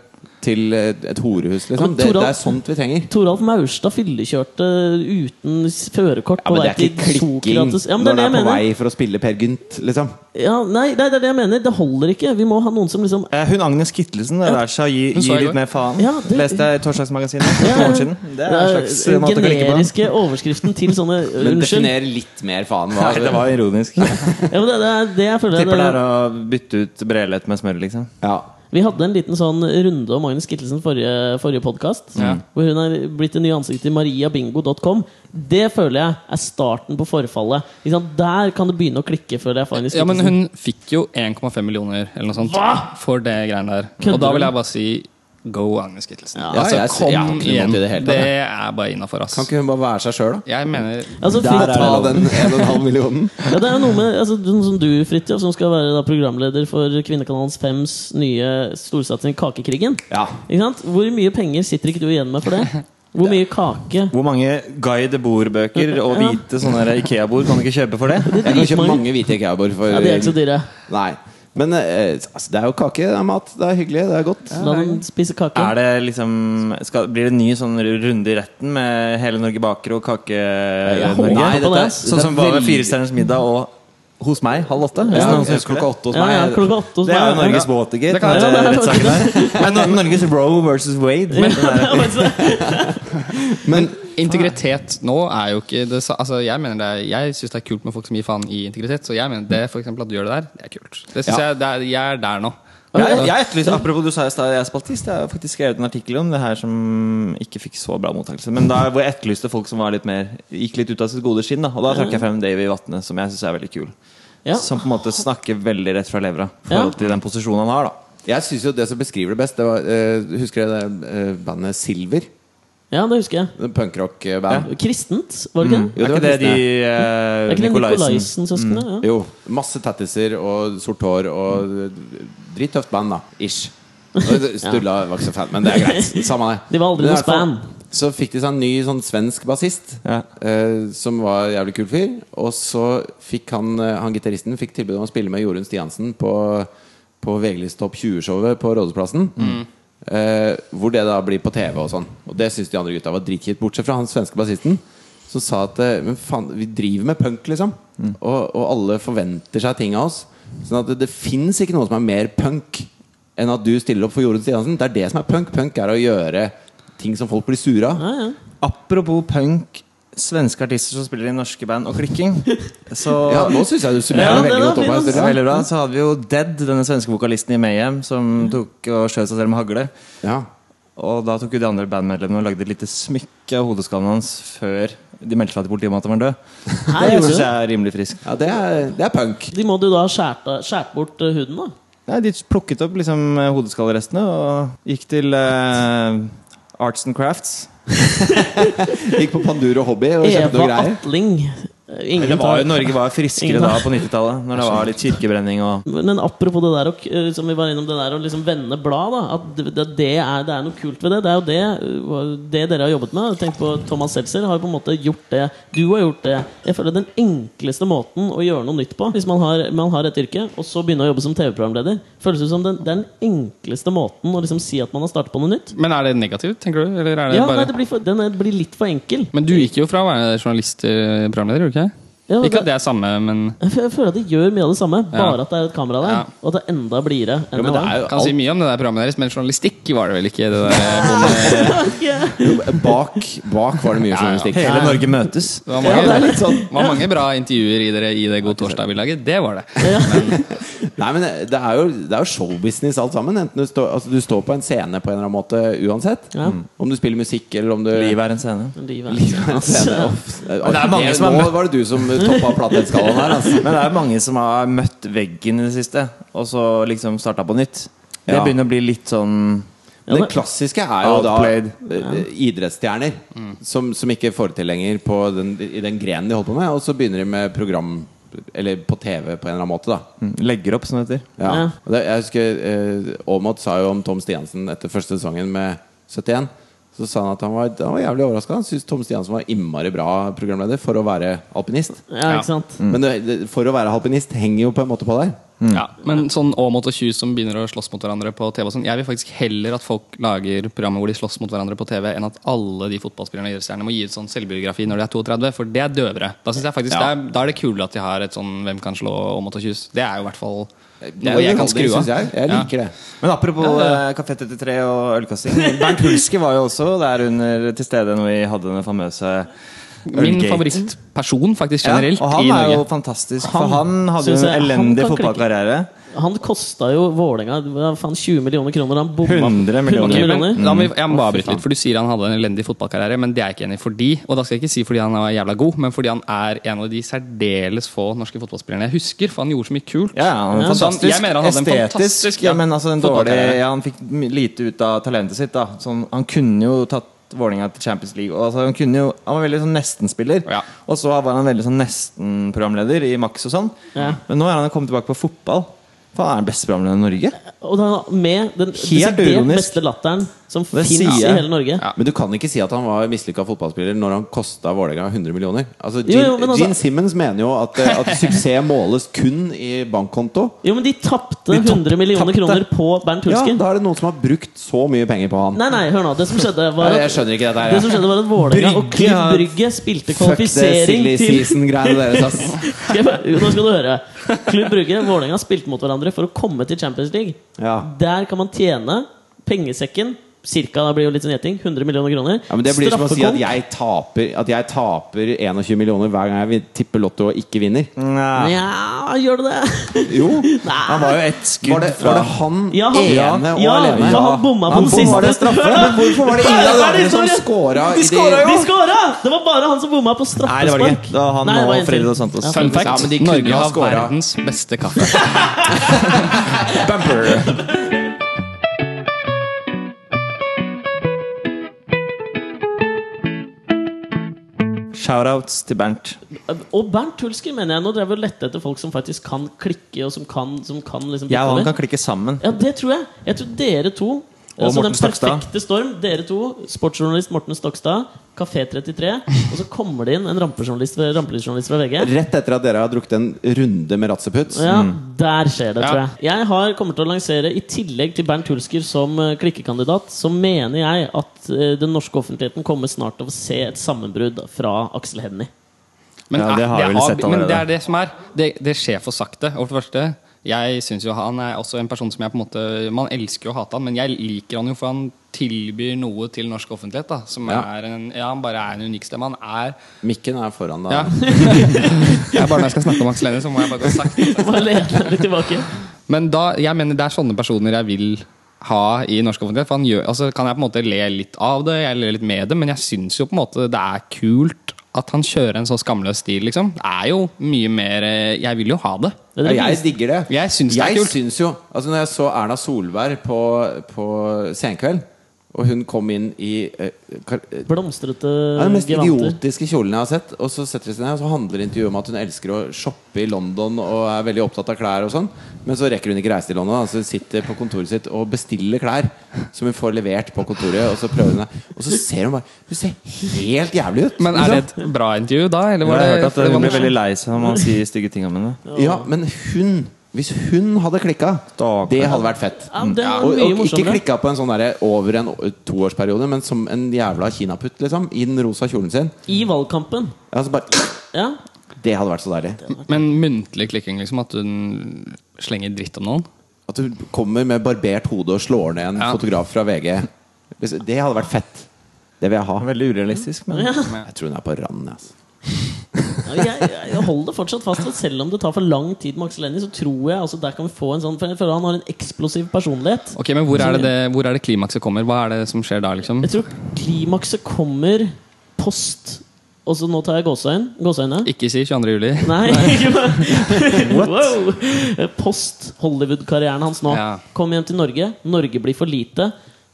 til et et horehus, Ja, liksom. men Det, det Toralf- er sånt vi trenger. Toralf Maurstad fyllekjørte uten s- førerkort Ja, på men det vei er ikke til klikking Sokrates. Ja, men når det er du det jeg er på mener. vei for å spille Per Gynt, liksom. Ja, nei, nei, det er det jeg mener. Det holder ikke. Vi må ha noen som liksom Eh, Hun Agnes Kittelsen har lært seg å gi, Hun sa i gi går. litt mer faen. Ja, det- Leste jeg i Torsdagsmagasinet for Ja, noen år siden. Eh, Det er en slags den måte å klikke på. Eh, generiske overskriften til sånne Men Unnskyld. definer litt mer faen. Nei, det var ironisk. Ja, men det, det er det jeg føler Tipper det er å bytte ut Brelett med smør, liksom. ja. Vi hadde en liten sånn runde om Magnus Kittelsen forrige, forrige podkast. Ja. Hvor hun er blitt det nye ansiktet til mariabingo.com. Det føler jeg er starten på forfallet. Ikke sant? Der kan det begynne å klikke. Før det er Magnus Ja, men Kittelsen. hun fikk jo 1,5 millioner eller noe sånt Hva?! for det greiene der. Kødder og da vil du? jeg bare si go Agnes Kittelsen. Ja, altså, jeg- kom jeg har ikke noe igjen. imot i det Det, hele tatt, jeg. er bare innafor, ass. Kan ikke hun bare være seg sjøl, da? Jeg mener altså, Der er Fridtjof- det lov. den 1,5 millionen. ja, det er jo noe med altså, sånn Som du, Fridtjof, som skal være da, programleder for Kvinnekanalens Fems nye storsatsing Kakekrigen. Ja. Ikke sant? Hvor mye penger sitter ikke du igjen med for det? Hvor mye kake? Hvor mange Guy de Boer-bøker og Ja. hvite sånne der Ikea-bord kan du ikke kjøpe for det? Jeg kan kjøpe Dritmange. mange hvite Ikea-bord for Ja, De er ikke så dyre. Nei. Men eh, altså, det er jo kake, det er mat, det er hyggelig, det er godt. La dem spise kake. Er det liksom skal, Blir det en ny sånn runde i retten med Hele Norge baker og Kake-Norge? håper Nei, dette på er- det. dette Sånn er som var ved veldig- Firestjerners middag og hos meg halv åtte? hvis Ja, noen jeg husker klokka åtte hos Ja, ja, meg. klokka åtte hos det. Det er jo meg. Norges Ja. båtgitt. Det kan den være. der rettssaken der. Nei, Nor- Norges Roe versus Wade. Men den der- Men Integritet nå er jo ikke det sa... Altså, jeg mener det er, Jeg syns det er kult med folk som gir faen i integritet, så jeg mener det for eksempel at du gjør det der, det er kult. Det synes Ja. jeg, det er, jeg er der nå. Jeg, jeg etterlyser, apropos du sa i stad jeg er spaltist, jeg har faktisk skrevet en artikkel om det her som ikke fikk så bra mottakelse. Men da hvor jeg etterlyste folk som var litt mer gikk litt ut av sitt gode skinn. Da. Og da trakk jeg frem Davy Vatne, som jeg syns er veldig kul. Ja. Som på en måte snakker veldig rett fra levra i Ja. forhold til den posisjonen han har. da jeg syns jo det som beskriver det best, det var eh, Husker dere det eh, bandet Silver? Ja, det husker jeg. Punkrock-band. Kristent, var det ikke? det? Mm. Jo, Er det ikke var det de kristne. eh, Er ikke det Nikolaisen Nikolaisen-søsknene? Ja. Jo. Masse tattiser og sort hår og eh, drittøft band, da. Ish. Og det- Sturla var ikke så fan, men det er greit. Samme det. De var aldri Men i noe hvert fall, span. Så fikk de seg en ny sånn svensk bassist, Ja. eh, som var en jævlig kul fyr. Og så fikk han, eh, han gitaristen fikk tilbud om å spille med Jorunn Stiansen på, på VG-list Topp 20-showet på Rådhusplassen. Eh, hvor det da blir på TV og sånn. Og det syns de andre gutta var dritkjipt, bortsett fra han svenske bassisten. Som sa at eh, Men faen, vi driver med punk, liksom. Og, og alle forventer seg ting av oss. Sånn at det, det fins ikke noe som er mer punk enn at du stiller opp for Jorunn Stiansen. Det er det som er punk. Punk er å gjøre ting som folk blir sure av. Ja, ja. Apropos punk, svenske artister som spiller i norske band og klikking. Så Ja, nå syns jeg du Ja, summerer det veldig var godt opp fint, her. Det er Sturla. veldig bra. Så hadde vi jo Dead, denne svenske vokalisten i Mayhem, Mm. som tok og skjøt seg selv med hagle. Ja. Og da tok jo de andre bandmedlemmene og lagde et lite smykke av hodeskallen hans før de meldte fra til politiet om at han var død. Her Det gjorde syns du det. jeg er rimelig friskt. ja, det er, det er punk. De må du da skjært, skjært bort eh, huden, da. Nei, De plukket opp liksom hodeskallerestene og gikk til eh, Arts and Crafts. Gikk på Pandur og Hobby og kjøpte noe Eva greier. Atling. Eh, Ingen Det var jo, tar- Norge var friskere Ingen da tar- på 90-tallet, når det var litt kirkebrenning og Men apropos det der å k- eh, som vi var innom det der å liksom vende blad, da. At det, det- det, er, det er noe kult ved det. Det er jo det, eh, hva- det dere har jobbet med. Tenk på Thomas Seltzer har jo på en måte gjort det. Du har gjort det. Jeg føler den enkleste måten å gjøre noe nytt på, hvis man har, man har et yrke, og så begynne å jobbe som TV-programleder, føles det som den, det er den enkleste måten å liksom si at man har startet på noe nytt. Men er det negativt, tenker du? Eller er det Ja, bare nei, det blir for, den er, blir litt for enkel. Men du gikk jo fra å være journalist til programleder, gjorde du ikke? Ja, Ikke det- at det er samme, men Jeg fø- jeg føler at de gjør mye av det samme, Ja. bare at det er et kamera der. Ja. Og at det er enda blidere Ja, enn men det det var. er jo kan si alt mye om det der programmet deres, men journalistikk var det vel ikke? Det der bonde... bak, bak var det mye journalistikk. Hele Norge møtes. Det var Ja, det er mange, litt sånn det var mange bra intervjuer i dere i det God torsdag-bilaget. Det var det. Nei, men det er jo, det er jo showbusiness alt sammen. Enten du, står- altså, du står på en scene på en eller annen måte uansett. Mm. Ja. Om du spiller musikk eller om du Livet er en scene. Livet. Livet er en scene. Og- det er mange Nå som har møtt- var det du som toppa plateskallaen her. Altså. Men det er jo mange som har møtt veggen i det siste, og så liksom starta på nytt. Det Ja. begynner å bli litt sånn Ja, det men- klassiske er jo da Outplayed. eh, idrettsstjerner som, som ikke får til lenger på den, i den grenen de holder på med, og så begynner de med program eller på TV på en eller annen måte, da. mm, Legger opp, som det heter. Ja. Ja. Og det, jeg husker eh, Aamodt sa jo om Tom Stiansen etter første sesongen med 71. Så sa han at han var, han var jævlig overraska. Han syntes Tom Stiansen var innmari bra programleder for å være alpinist. Ja, Ja. ikke sant? Men det, det, for å være alpinist henger jo på en måte på deg. Ja, men sånn Aamodt og Kjus som begynner å slåss mot hverandre på TV og sånn. Jeg vil faktisk heller at folk lager programmer hvor de slåss mot hverandre på TV, enn at alle de fotballspillerne og idrettsstjernene må gi ut sånn selvbiografi når de er 32, for det er døvere. Da synes jeg faktisk det er, da er det kulere at de har et sånn 'Hvem kan slå Aamodt og Kjus'? Det er jo i hvert fall Det er noe jeg kan skru underholdning, synes av. Jeg. jeg liker det. Men apropos eh, Café 33 og ølkassing. Bernt Hulske var jo også der under til stede når vi hadde den famøse Min Ølgate. favorittperson faktisk Ja, generelt og han i er Norge. jo fantastisk, Han for han hadde jo synes en jeg- han elendig kan klikke. fotballkarriere. Han kosta jo Vålerenga hva faen, 20 millioner kroner. Han bomma 100 millioner. Ok, men millioner. da må vi, Mm. jeg må bare avbryte litt, for Du sier han hadde en elendig fotballkarriere, men det er jeg ikke enig i. Fordi, og da skal jeg ikke si fordi han var jævla god, men fordi han er en av de særdeles få norske fotballspillerne jeg husker. For han gjorde så mye kult. Ja, han var Ja. fantastisk. Jeg mener han hadde en Estetisk, fantastisk, ja, ja, men altså en dårlig fotballkarriere. ja, Han fikk my- lite ut av talentet sitt. da sånn, Han kunne jo tatt Vålinga til Champions League. Og, altså, han, kunne jo, han var veldig sånn nesten-spiller. Ja. Og så var han veldig sånn nesten-programleder i Max og sånn. Ja. Men nå er han kommet tilbake på fotball. For han er den beste programlederen i Norge. Og da, med den Helt desidert ironisk. beste latteren som Det fins i sier jeg. hele Norge. Ja. Men du kan ikke si at han var mislykka fotballspiller når han kosta Vålerenga 100 millioner. Altså, Jo, Gene, jo, men altså- Gene Simmons mener jo at, eh, at suksess måles kun i bankkonto. Jo, men de tapte De tapp- 100 millioner tapte. kroner på Bernt Ja, Hulsken. Da er det noen som har brukt så mye penger på han. Nei, nei, hør nå. Det som skjedde, var Nei, jeg at, skjønner ikke dette her, det jeg. som skjedde var at Vålerenga og Brygge Klubb har- Brygge spilte Fuck det kvalifisering silly til season-greiene deres, ass. Skal jeg bare- Jo, Nå skal du høre. Klubb Brygge og Vålerenga spilte mot hverandre for å komme til Champions League. Ja. Der kan man tjene pengesekken. Cirka, det blir jo litt sånn gjeting. 100 millioner kroner. Ja, men det blir som å si at Straffekonk. jeg taper At jeg taper 21 millioner hver gang jeg vil- tipper Lotto og ikke vinner. Nei. Nja, gjør du det? Jo! Nei. Han var jo ett skudd Var det, fra var det han Ja, han- ene og ja, alene? for han bomma på den bomma siste. det straffe, men hvorfor var det ingen av de Hva er det andre som historien? scora? i de- De skåra! Det var bare han som bomma på straffespark. Nei, det var det ikke. Det var han Nei, det var og en til. Freddy Dos Santos. Ja. Fun Ja, fact men de kunne Norge ha har scoret. verdens beste kaffe. Shoutouts til Bernt. Og Bernt Hulsker, mener jeg. Nå drev jeg og lette etter folk som faktisk kan klikke. Og som kan, som kan liksom Jeg og han bytte kan klikke sammen. med. Ja, det tror jeg. Jeg tror dere to Og altså, Morten den Stokstad. perfekte storm. Dere to, sportsjournalist Morten Stokstad, Kafé 33. Og så kommer det inn en rampejournalist, rampelysjournalist fra VG. Rett etter at dere har drukket en runde med ratseputz. Ja, der skjer det, Ja. tror jeg. Jeg har kommer til å lansere, i tillegg til Bernt Hulsker som eh, klikkekandidat, så mener jeg at eh, den norske offentligheten kommer snart til å se et sammenbrudd fra Aksel Hennie. Men, Ja, det har eh, det, vi vel er, sett men allerede. det er det som er. Det, det skjer for sakte. Og for det første, jeg synes jo han er også en person som jeg på en måte Man elsker jo å hate han, men jeg liker han jo for han tilbyr noe til norsk offentlighet. da Som Ja. er en, ja, Han bare er en unik stemme. Han er Mikken er foran deg. Ja. Jeg bare når jeg skal snakke om Aksel Hennie, så må jeg bare gå sakte. Bare lene litt tilbake. Men da, jeg mener det er sånne personer jeg vil ha i norsk offentlighet. For han gjør, altså, kan jeg på en måte le litt av det, jeg ler litt med det, men jeg syns jo på en måte det er kult At han kjører en så skamløs stil, liksom, er jo mye mer eh, Jeg vil jo ha det. Men Ja, dere jeg vis- digger det. Jeg syns det er Jeg kult. syns jo altså Når jeg så Erna Solberg på, på Senkveld, og hun kom inn i eh, kar- eh, blomstrete ja, den mest gevanter. idiotiske kjolen jeg har sett, og så setter de seg ned, og så handler intervjuet om at hun elsker å shoppe i London og er veldig opptatt av klær og sånn, men så rekker hun ikke reise til London, da, så hun sitter på kontoret sitt og bestiller klær som hun får levert på kontoret, og så prøver hun det, og så ser hun bare Hun ser helt jævlig ut! Men er det liksom. et bra intervju da? Eller Jeg var har det, hørt at for det hun var blir morsomt? veldig lei seg om han sier stygge ting om henne. Ja, men hun Hvis hun hadde klikka, Stakkars. det hadde vært fett. Ja, det var Mm. Og, mye og ikke morsommere. klikka på en sånn derre over en å- toårsperiode, men som en jævla kinaputt, liksom. I den rosa kjolen sin. I valgkampen. Ja, så bare, Ja. det hadde vært så deilig. Men muntlig klikking, liksom? At hun slenger dritt om noen? At du kommer med barbert hode og slår ned en Ja. fotograf fra VG. Liksom, Det hadde vært fett. Det vil jeg ha. Veldig urealistisk, men Ja. Jeg tror hun er på randen. Altså. Ja, Jeg, jeg holder fortsatt fast ved selv om det tar for lang tid med Aksel Hennie, så tror jeg altså, der kan vi få en sånn For jeg føler han har en eksplosiv personlighet. Ok, men Hvor er det, det, hvor er det klimakset kommer? Hva er det som skjer da, liksom? Jeg tror klimakset kommer post Og så nå tar jeg gåseøyne. Gåseøyne. Ikke si 22. juli. Nei, ikke bare- wow. Post Hollywood-karrieren hans nå. Ja. Kom hjem til Norge. Norge blir for lite.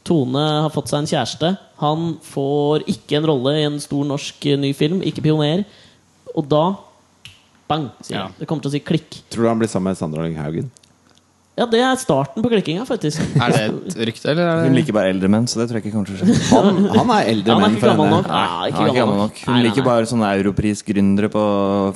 Tone har fått seg en kjæreste. Han får ikke en rolle i en stor norsk eh, ny film. Ikke pioner. Og da bang, sier Ja. jeg. Det kommer til å si klikk. Tror du han blir sammen med Sandra Lyng Haugen? Ja, det er starten på klikkinga, faktisk. Er det et rykte, eller er hun det liker bare eldre menn, så det tror jeg ikke kommer til å skje. Han, han er eldre Han er menn ikke for gammel henne. nok. Ja, Hun er ikke gammel nok. Hun Nei, nei, liker nei. bare sånne europris-gründere på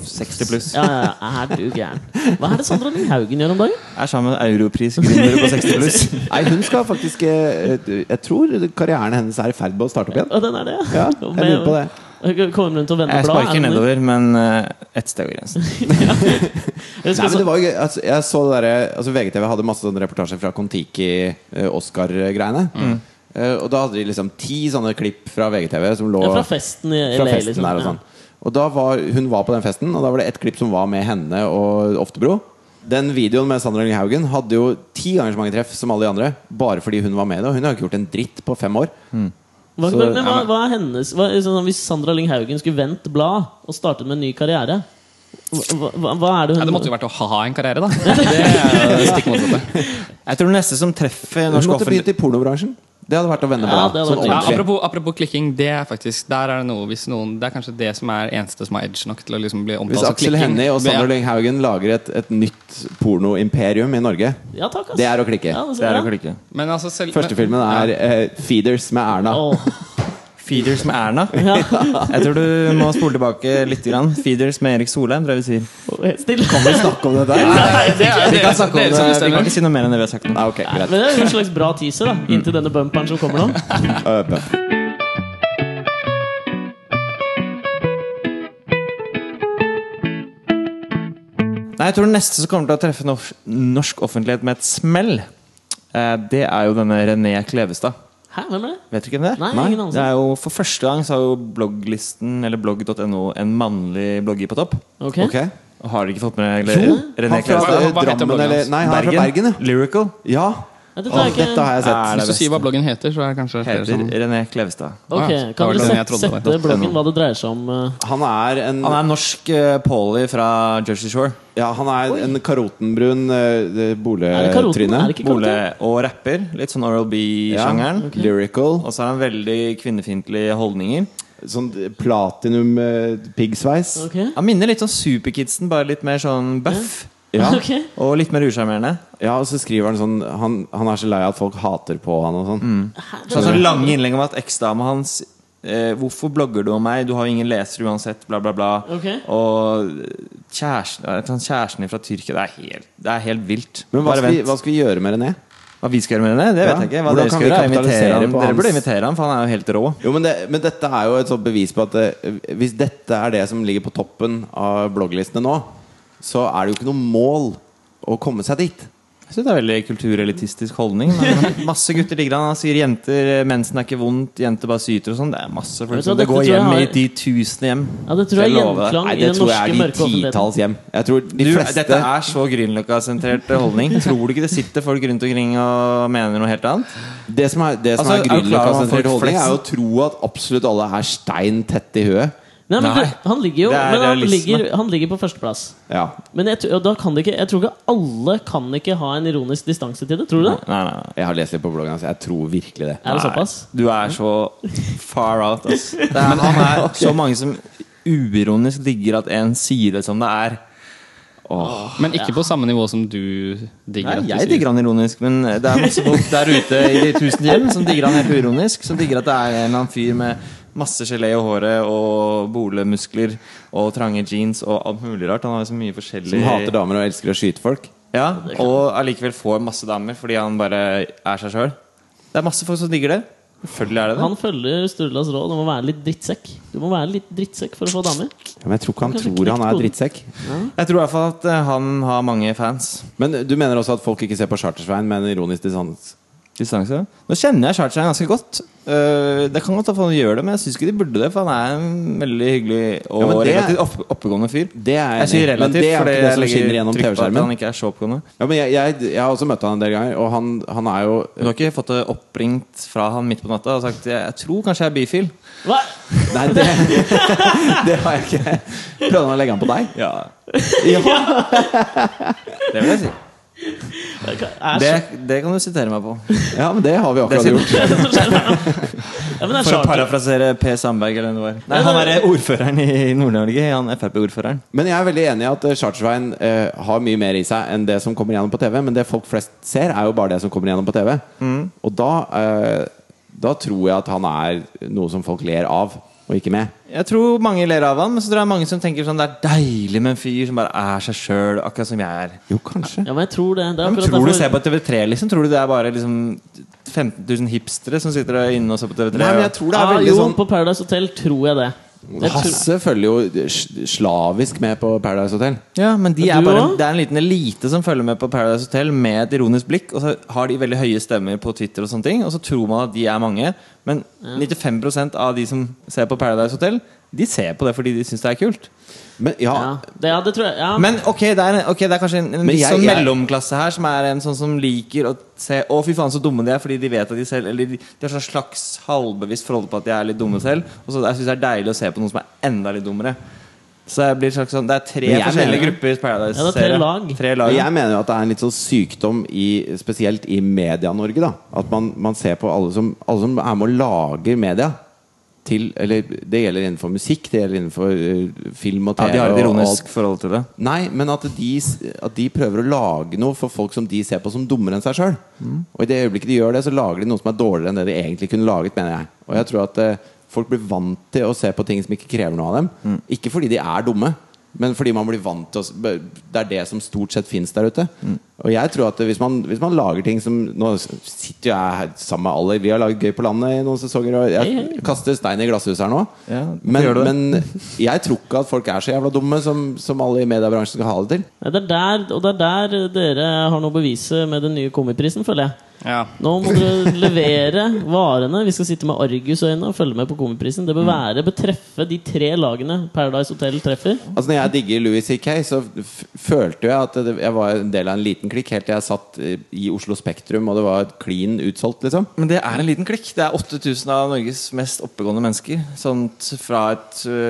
60 pluss. Ja, ja, ja, er du gæren. Hva er det Sandra Lyng Haugen gjør om dagen? Er sammen med europris-gründere på 60 pluss. Nei, hun skal faktisk eh, Jeg tror karrieren hennes er i ferd med å starte opp igjen. Å, den er det, Ja, jeg lurer på det. Kommer hun til å vende Jeg bladet? sparker nedover, men eh, ett sted over grensen. Jeg Nei, skal men det var jo gøy altså, Jeg så det der, altså, VGTV hadde masse sånne reportasjer fra Kon-Tiki-Oscar-greiene. Mm. og da hadde de liksom ti sånne klipp fra VGTV som lå Ja, fra festen i fra LA, festen liksom. der og sånn. Og da var, hun var på den festen, og da var det et klipp som var med henne og Oftebro. Den videoen med Sandra Lyng Haugen hadde jo ti ganger så mange treff som alle de andre. Bare fordi hun var med i det. Og hun har jo ikke gjort en dritt på fem år. Hva, Så- men hva, hva er hennes hva, sånn, Hvis Sandra Lyng Haugen skulle vendt blad og startet med en ny karriere hva, hva, hva er det hun Nei, Det måtte jo vært å ha en karriere, da. Det er jo det stikk motsatte. Jeg tror den neste som treffer Hun norsk måtte offentlig begynt i pornobransjen. Det hadde vært å vende Ja, blad. det hadde sånn vært- Ja, ordentlig. apropos, apropos klikking, det er faktisk Der er det noe hvis noen Det er kanskje det som er eneste som har edge nok til å liksom bli omtalt Altså, Hvis som Aksel klikking. Hennie og Sandra Ja. Lyng Haugen lager et, et nytt pornoimperium i Norge Ja, takk, ass. Det er å klikke. Ja, det Det er å ser jeg. klikke. Men altså selv Første filmen er eh, Feeders med Erna. Åh, Feeders med Erna. ja. Jeg tror du må spole tilbake litt. Grann. Feeders med Erik Solheim, tror jeg vi sier. Åh, helt Stille. Kan vi snakke om det der? Nei, det er Vi dere, kan, snakke om, dere som det- Eh, vi kan bestemmer. ikke si noe mer enn det vi har sagt nå. Nei, ok, Men greit. det er jo en slags bra teaser da Mm. inntil denne bumperen som kommer nå. Øh, bøff. Nei, jeg tror den neste som kommer til å treffe norsk, norsk offentlighet med et smell, eh, det er jo denne René Klevestad. Hæ, hvem er det? Vet du ikke hvem det er? Nei, ingen anelse. det er jo, for første gang så har jo blogglisten, eller blogg.no, en mannlig blogger på topp. Ok, Ok. Og har dere ikke fått med Jo, René han fra Klevestad? eh, Hva- hva heter Drammen bloggen eller hans? Nei, han er fra Bergen, ja. Lyrical ja. Ja, dette Åh, er ikke- dette har jeg Er sett. det Hvis du sier hva beste. bloggen heter, så er det kanskje flere Heter som René Klevestad. Ja, Ok, det var Kan den dere jeg sette, trodde det sette bloggen hva det dreier seg om? eh? Han er en Han er norsk eh, Paulie fra Jersey Shore. Ja, han er en karotenbrun eh, Er det karoten? boletryne. Er det ikke karoten? Ole og rapper. Litt sånn Oral B-sjangeren. Lyrical. Og så har han veldig kvinnefiendtlige holdninger. Sånn eh, platinum-piggsveis. Ok, Han minner litt om Superkidsen, bare litt mer sånn buff. Ja. Ok. Og litt mer usjarmerende. ja, og så skriver han sånn han, han er så lei av at folk hater på han og sånn. Så han har sånn lange innlegg om at eksdama hans eh, Hvorfor blogger du om meg? Du har jo ingen lesere uansett, bla, bla, bla. Ok. Og kjæresten, eh, sånn kjæresten din fra Tyrkia Det er helt, det er helt vilt. Men hva Bare skal, vi, vent. hva skal vi gjøre med René? Hva vi skal gjøre med det, det vet Ja. jeg ikke. Hva Hvordan dere kan skal vi gjøre, er kapitalisere invitere ham. på Dere hans- burde invitere ham, for han er jo helt rå. Jo, men, det, men dette er jo et sånt bevis på at eh, hvis dette er det som ligger på toppen av blogglistene nå, så er det jo ikke noe mål å komme seg dit. Jeg synes det er veldig kulturelitistisk holdning. Men masse gutter digger han. Han sier jenter, eh, mensen er ikke vondt, jenter bare syter og sånn. Det er masse folk Vet du som hva, Det går dette tror jeg hjem i har- de tusen hjem. Ja, det tror jeg er Skal jeg love deg? gjenklang Nei, i det den tror jeg norske er de mørke offentligheten. titalls hjem. Jeg tror de Du, fleste Dette er så Grünerløkka-sentrert holdning. Tror du ikke det sitter folk rundt omkring og mener noe helt annet? Det som er, det som er Altså, er du Grünerløkka klar over at folk sentrert holdning, flexen- er jo å tro at absolutt alle er stein tett i huet. Nei, men Nei. det, han ligger jo Det er men han, realisme. ligger, han ligger på førsteplass. Ja. Men jeg, tr- og da kan det ikke, jeg tror ikke alle kan ikke ha en ironisk distanse til det. Tror du det? Nei, nei, nei. Jeg har lest litt på bloggen hans. Jeg tror virkelig det. Er det Nei, såpass? Du er så far out, ass. Det er, men han er så mange som uironisk digger at en sier det som det er. sånn- Men ikke på samme nivå som du digger Nei, at du jeg sier. digger han ironisk, men det er masse folk der ute i de tusen hjem som digger han helt uironisk. Som digger at det er en eller annen fyr med masse gelé i håret og bolemuskler og trange jeans og alt mulig rart. Han har jo så mye forskjellig Som hater damer og elsker å skyte folk. Ja, Og allikevel får masse damer fordi han bare er seg sjøl. Det er masse folk som digger det. Selvfølgelig er det det. Han følger Sturlas råd om å være litt drittsekk. Du må være litt drittsekk for å få damer. Ja, men jeg tror ikke han Kanskje tror han knekt er koden. drittsekk. Jeg tror i hvert fall at eh, han har mange fans. Men du mener også at folk ikke ser på Chartersveien med en ironisk distanse? Distanse. Nå kjenner jeg Charter ganske godt. Eh, det kan godt at han gjør det, men jeg syns ikke de burde det. For han er en veldig hyggelig og Ja, men det- relativt opp oppegående fyr. Det er Jeg sier enig i, men relativt, det er ikke fordi det jeg som legger skinner gjennom trykk på at TV-skjermen. Han ikke er så oppgående. Ja, men jeg, jeg, jeg har også møtt han en del ganger, og han, han er jo Du har ikke fått det oppringt fra han midt på natta og sagt jeg, 'jeg tror kanskje jeg er bifil'? Hva? Nei, det, det har jeg ikke. Prøvde han å legge han på deg? Ja. Det vil jeg si. Jeg kan- jeg Det, Er det kan du sitere meg på. Ja, men det har vi akkurat Det sier- gjort. så- ja, men jeg For å skjønner. parafrasere Per Sandberg eller hvem det var. Nei, han er ordføreren i Nord-Norge. Han Frp-ordføreren. Men jeg er veldig enig i at eh, Chartersveien eh, har mye mer i seg enn det som kommer gjennom på TV. Men det folk flest ser, er jo bare det som kommer gjennom på TV. Mm. Og da, eh, da tror jeg at han er noe som folk ler av, og ikke med. Jeg tror mange ler av han, men så tror jeg mange som tenker sånn det er deilig med en fyr som bare er seg sjøl, akkurat som jeg er. Jo, kanskje. Ja, men jeg tror det. det er Ja, men akkurat tror du derfor- ser på TV3, liksom? Tror du det er bare liksom 15 000 hipstere som sitter der inne og ser på TV3? Nei, men og- jeg tror det er ah, veldig jo, sånn på Paradise Hotel tror jeg det. Jeg tror, Hasse følger jo s- slavisk med på Paradise Hotel. Ja, men de Men er du bare, også? det er en liten elite som følger med på Paradise Hotel med et ironisk blikk, og så har de veldig høye stemmer på Twitter, og sånne ting Og så tror man at de er mange, men 95 av de som ser på Paradise Hotel, de ser på det fordi de syns det er kult. Men ja, ja, det, ja, det tror jeg. Ja, Men ok, det er, en- ok, det er kanskje en, en Men litt jeg- sånn jeg- mellomklasse her som er en sånn som liker å se Å, fy faen, så dumme de er, fordi de vet at de selv Eller de, de har sånn slags halvbevisst forhold på at de er litt dumme selv, og så jeg syns det er deilig å se på noen som er enda litt dummere. Så det blir slags sånn Det er tre Men jeg forskjellige mener- grupper Paradise Ja, det er tre lag. Tre Og lag. jeg mener jo at det er en litt sånn sykdom i, Spesielt i media-Norge da At man, man ser på alle som, alle som er med og lager media til, eller, Det gjelder innenfor musikk Det gjelder innenfor eh, film og Ja, TV de har et og ironisk alt. forhold til det. Nei, men at de, s- at de prøver å lage noe For folk som de ser på som dummere enn seg selv Mm. Og i det øyeblikket de gjør det Så lager de noe som er dårligere enn det de egentlig kunne laget Mener jeg Og jeg tror at eh, folk blir vant til å se på ting som ikke krever noe av dem Mm. Ikke fordi de er dumme men fordi man blir vant til å s- b- Det er det som stort sett finnes der ute. Mm. Og jeg tror at hvis man, hvis man lager ting som Nå s- sitter jo jeg her sammen med alle. Vi har laget Gøy på landet i noen sesonger, og jeg kaster stein i glasshuset her nå. Ja, hvorfor men, gjør du det? men jeg tror ikke at folk er så jævla dumme som, som alle i mediebransjen skal ha det til. det er der, og det er der dere har noe å bevise med den nye komiprisen, føler jeg. Ja. Nå må dere levere varene. Vi skal sitte med argusøyne og følge med på Komiprisen. Det bør Mm. være bør treffe de tre lagene Paradise Hotel treffer. Altså Når jeg digger Louis C.K., så f følte jeg at det, jeg var en del av en liten klikk helt til jeg satt eh, i Oslo Spektrum, og det var klin utsolgt, liksom. Men det er en liten klikk. Det er 8000 av Norges mest oppegående mennesker. Sånn t- fra et ø,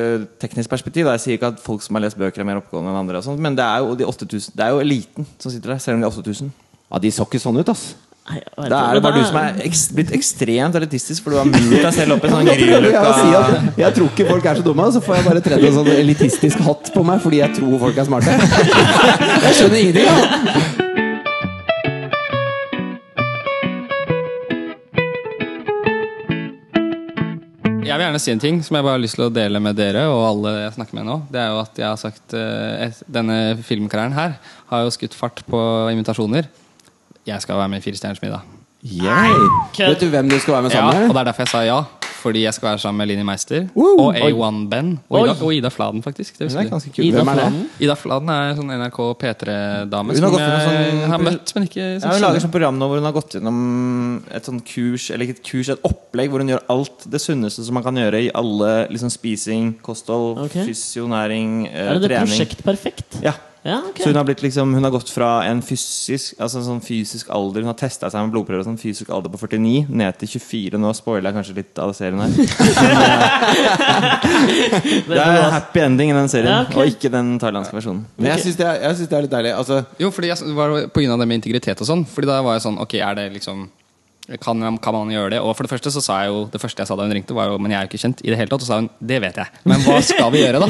teknisk perspektiv. Da. Jeg sier ikke at folk som har lest bøker, er mer oppegående enn andre. Og sånt, men det er, jo de 8000, det er jo eliten som sitter der, selv om de er 8000. Ja, De så ikke sånn ut, ass. Nei, jeg vet Da ikke, er det men bare du som er eks blitt ekstremt elitistisk, for du har murt deg selv opp i sånn Jeg prøver jeg å si gryløkka at jeg tror ikke folk er så dumme, og så får jeg bare tredd en sånn elitistisk hatt på meg fordi jeg tror folk er smarte. Jeg skjønner ingenting. Ja. Jeg vil gjerne si en ting som jeg bare har lyst til å dele med dere og alle jeg snakker med nå. Det er jo at jeg har sagt eh, et, Denne filmkarrieren her har jo skutt fart på invitasjoner. Jeg skal være med i Fire stjerners middag. kødd. Vet du hvem du skal være med Ja, sammen og med? det er derfor jeg sa ja. Fordi jeg skal være sammen med Linni Meister Woo! og A1-Ben. Og, Ida- Oi. og Ida Fladen, faktisk. Det Det husker er du. ganske kult. Ida Hvem er det? Fladen? Ida Fladen er sånn NRK P3-dame Hun har som gått jeg gjennom sånn- har møtt, men ikke Ja, hun lager sånn program nå hvor hun har gått gjennom et sånn kurs, eller ikke et kurs, et opplegg hvor hun gjør alt det sunneste som man kan gjøre i alle liksom spising, kosthold, Ok. fysio, næring, eh, Er det det trening. Prosjekt Perfekt? Ja. Ja, ok. Så hun har, blitt liksom, hun har gått fra en fysisk, altså en sånn fysisk alder Hun har testa seg med blodprøver og sånn fysisk alder på 49, ned til 24 nå. Spoiler jeg kanskje litt av serien her. Det er en happy ending i den serien, Ja, ok. og ikke den thailandske versjonen. Men jeg syns det, er- jeg syns det er litt deilig. Altså, Jo, fordi jeg s- var på grunn av det med integritet og sånn. Fordi da var jeg sånn Ok, er det liksom kan, kan man gjøre det? Og for det første så sa jeg jo Det første jeg sa da hun ringte, var jo Men jeg er jo ikke kjent i det hele tatt. Og så sa hun Det vet jeg. Men hva skal vi gjøre, da?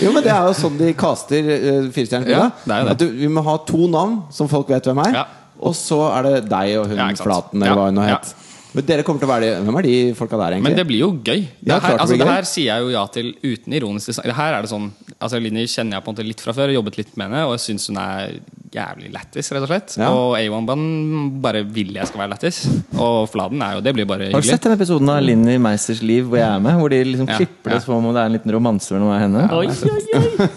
jo, men Det er jo sånn de caster uh, Firestjerners Ja, middag. det er jo det. At du- vi må ha to navn som folk vet hvem er. Ja. Og så er det deg og hun Ja, ikke sant. Flaten, eller Ja, hva hun nå ja. het. Men dere kommer til å være de Hvem er de folka der, egentlig? Men det blir jo gøy. Det Ja, klart her, det altså, blir det gøy. her sier jeg jo ja til uten ironisk design. Det her er det sånn Altså Linni kjenner jeg på en måte litt fra før, jobbet litt med henne, og jeg syns hun er jævlig lættis, rett og slett. Ja. Og A1-banen bare vil jeg skal være lættis. Og Fladen er jo Det blir bare Har du hyggelig. sett den episoden av Linni Meisters liv hvor jeg er med? Hvor de liksom Ja, klipper det ja. som om det er en liten romanse mellom meg og henne? Oi, oi, oi.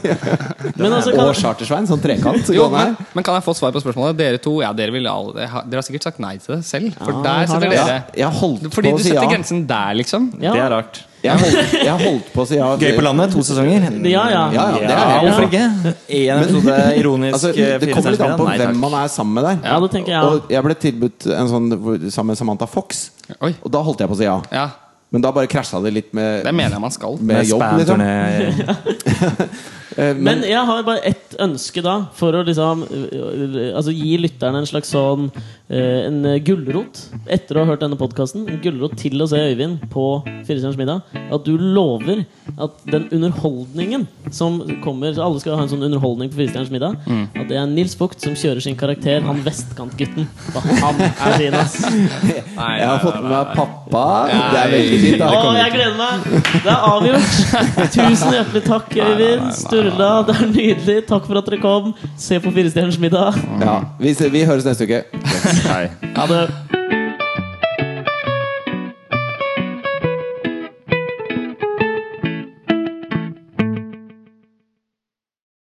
Men altså, Og kan, Chartersvein, sånn trekant. Jo, gående her. men, men kan jeg få svar på spørsmålet? Dere to, ja, dere, vil al- ha- dere har sikkert sagt nei til det selv. For Ah, Ja, har der sitter det. dere. Ja, jeg holdt på Fordi å du si setter ja. grensen der, liksom. ja. Det er rart. Jeg holdt, jeg holdt på å si ja. Gøy på landet, to sesonger. Ja, ja. Ja, ja, det er hvorfor det. ikke? Én episode ironisk eh, Altså, det kommer litt an på hvem man er sammen med der. Ja, det tenker jeg også. Og jeg ble tilbudt en sånn hvor- sammen med Samantha Fox, Oi. og da holdt jeg på å si ja. Ja, Men da bare krasja det litt med, det mener jeg man skal. med jobb. Liksom. Eh, Men Men jeg har bare ett ønske da for å liksom øh, altså, gi lytterne en slags sånn øh, En øh, gulrot etter å ha hørt denne podkasten. En gulrot til å se Øyvind på Firestjerners middag. At du lover at den underholdningen som kommer så Alle skal ha en sånn underholdning på Firestjerners middag. At det er Nils Vogt som kjører sin karakter, han vestkantgutten. Hva Han er fin, ass. Nei, jeg har nei, fått med meg pappa. Det er Nei. veldig fint. Å, Da. jeg gleder meg! Det er avgjort. Tusen hjertelig takk, Øyvind. Sturla, det er nydelig. Takk for at dere kom. Se på Firestjerners middag. Ja, vi, se- vi høres neste uke. Nei. Ha det.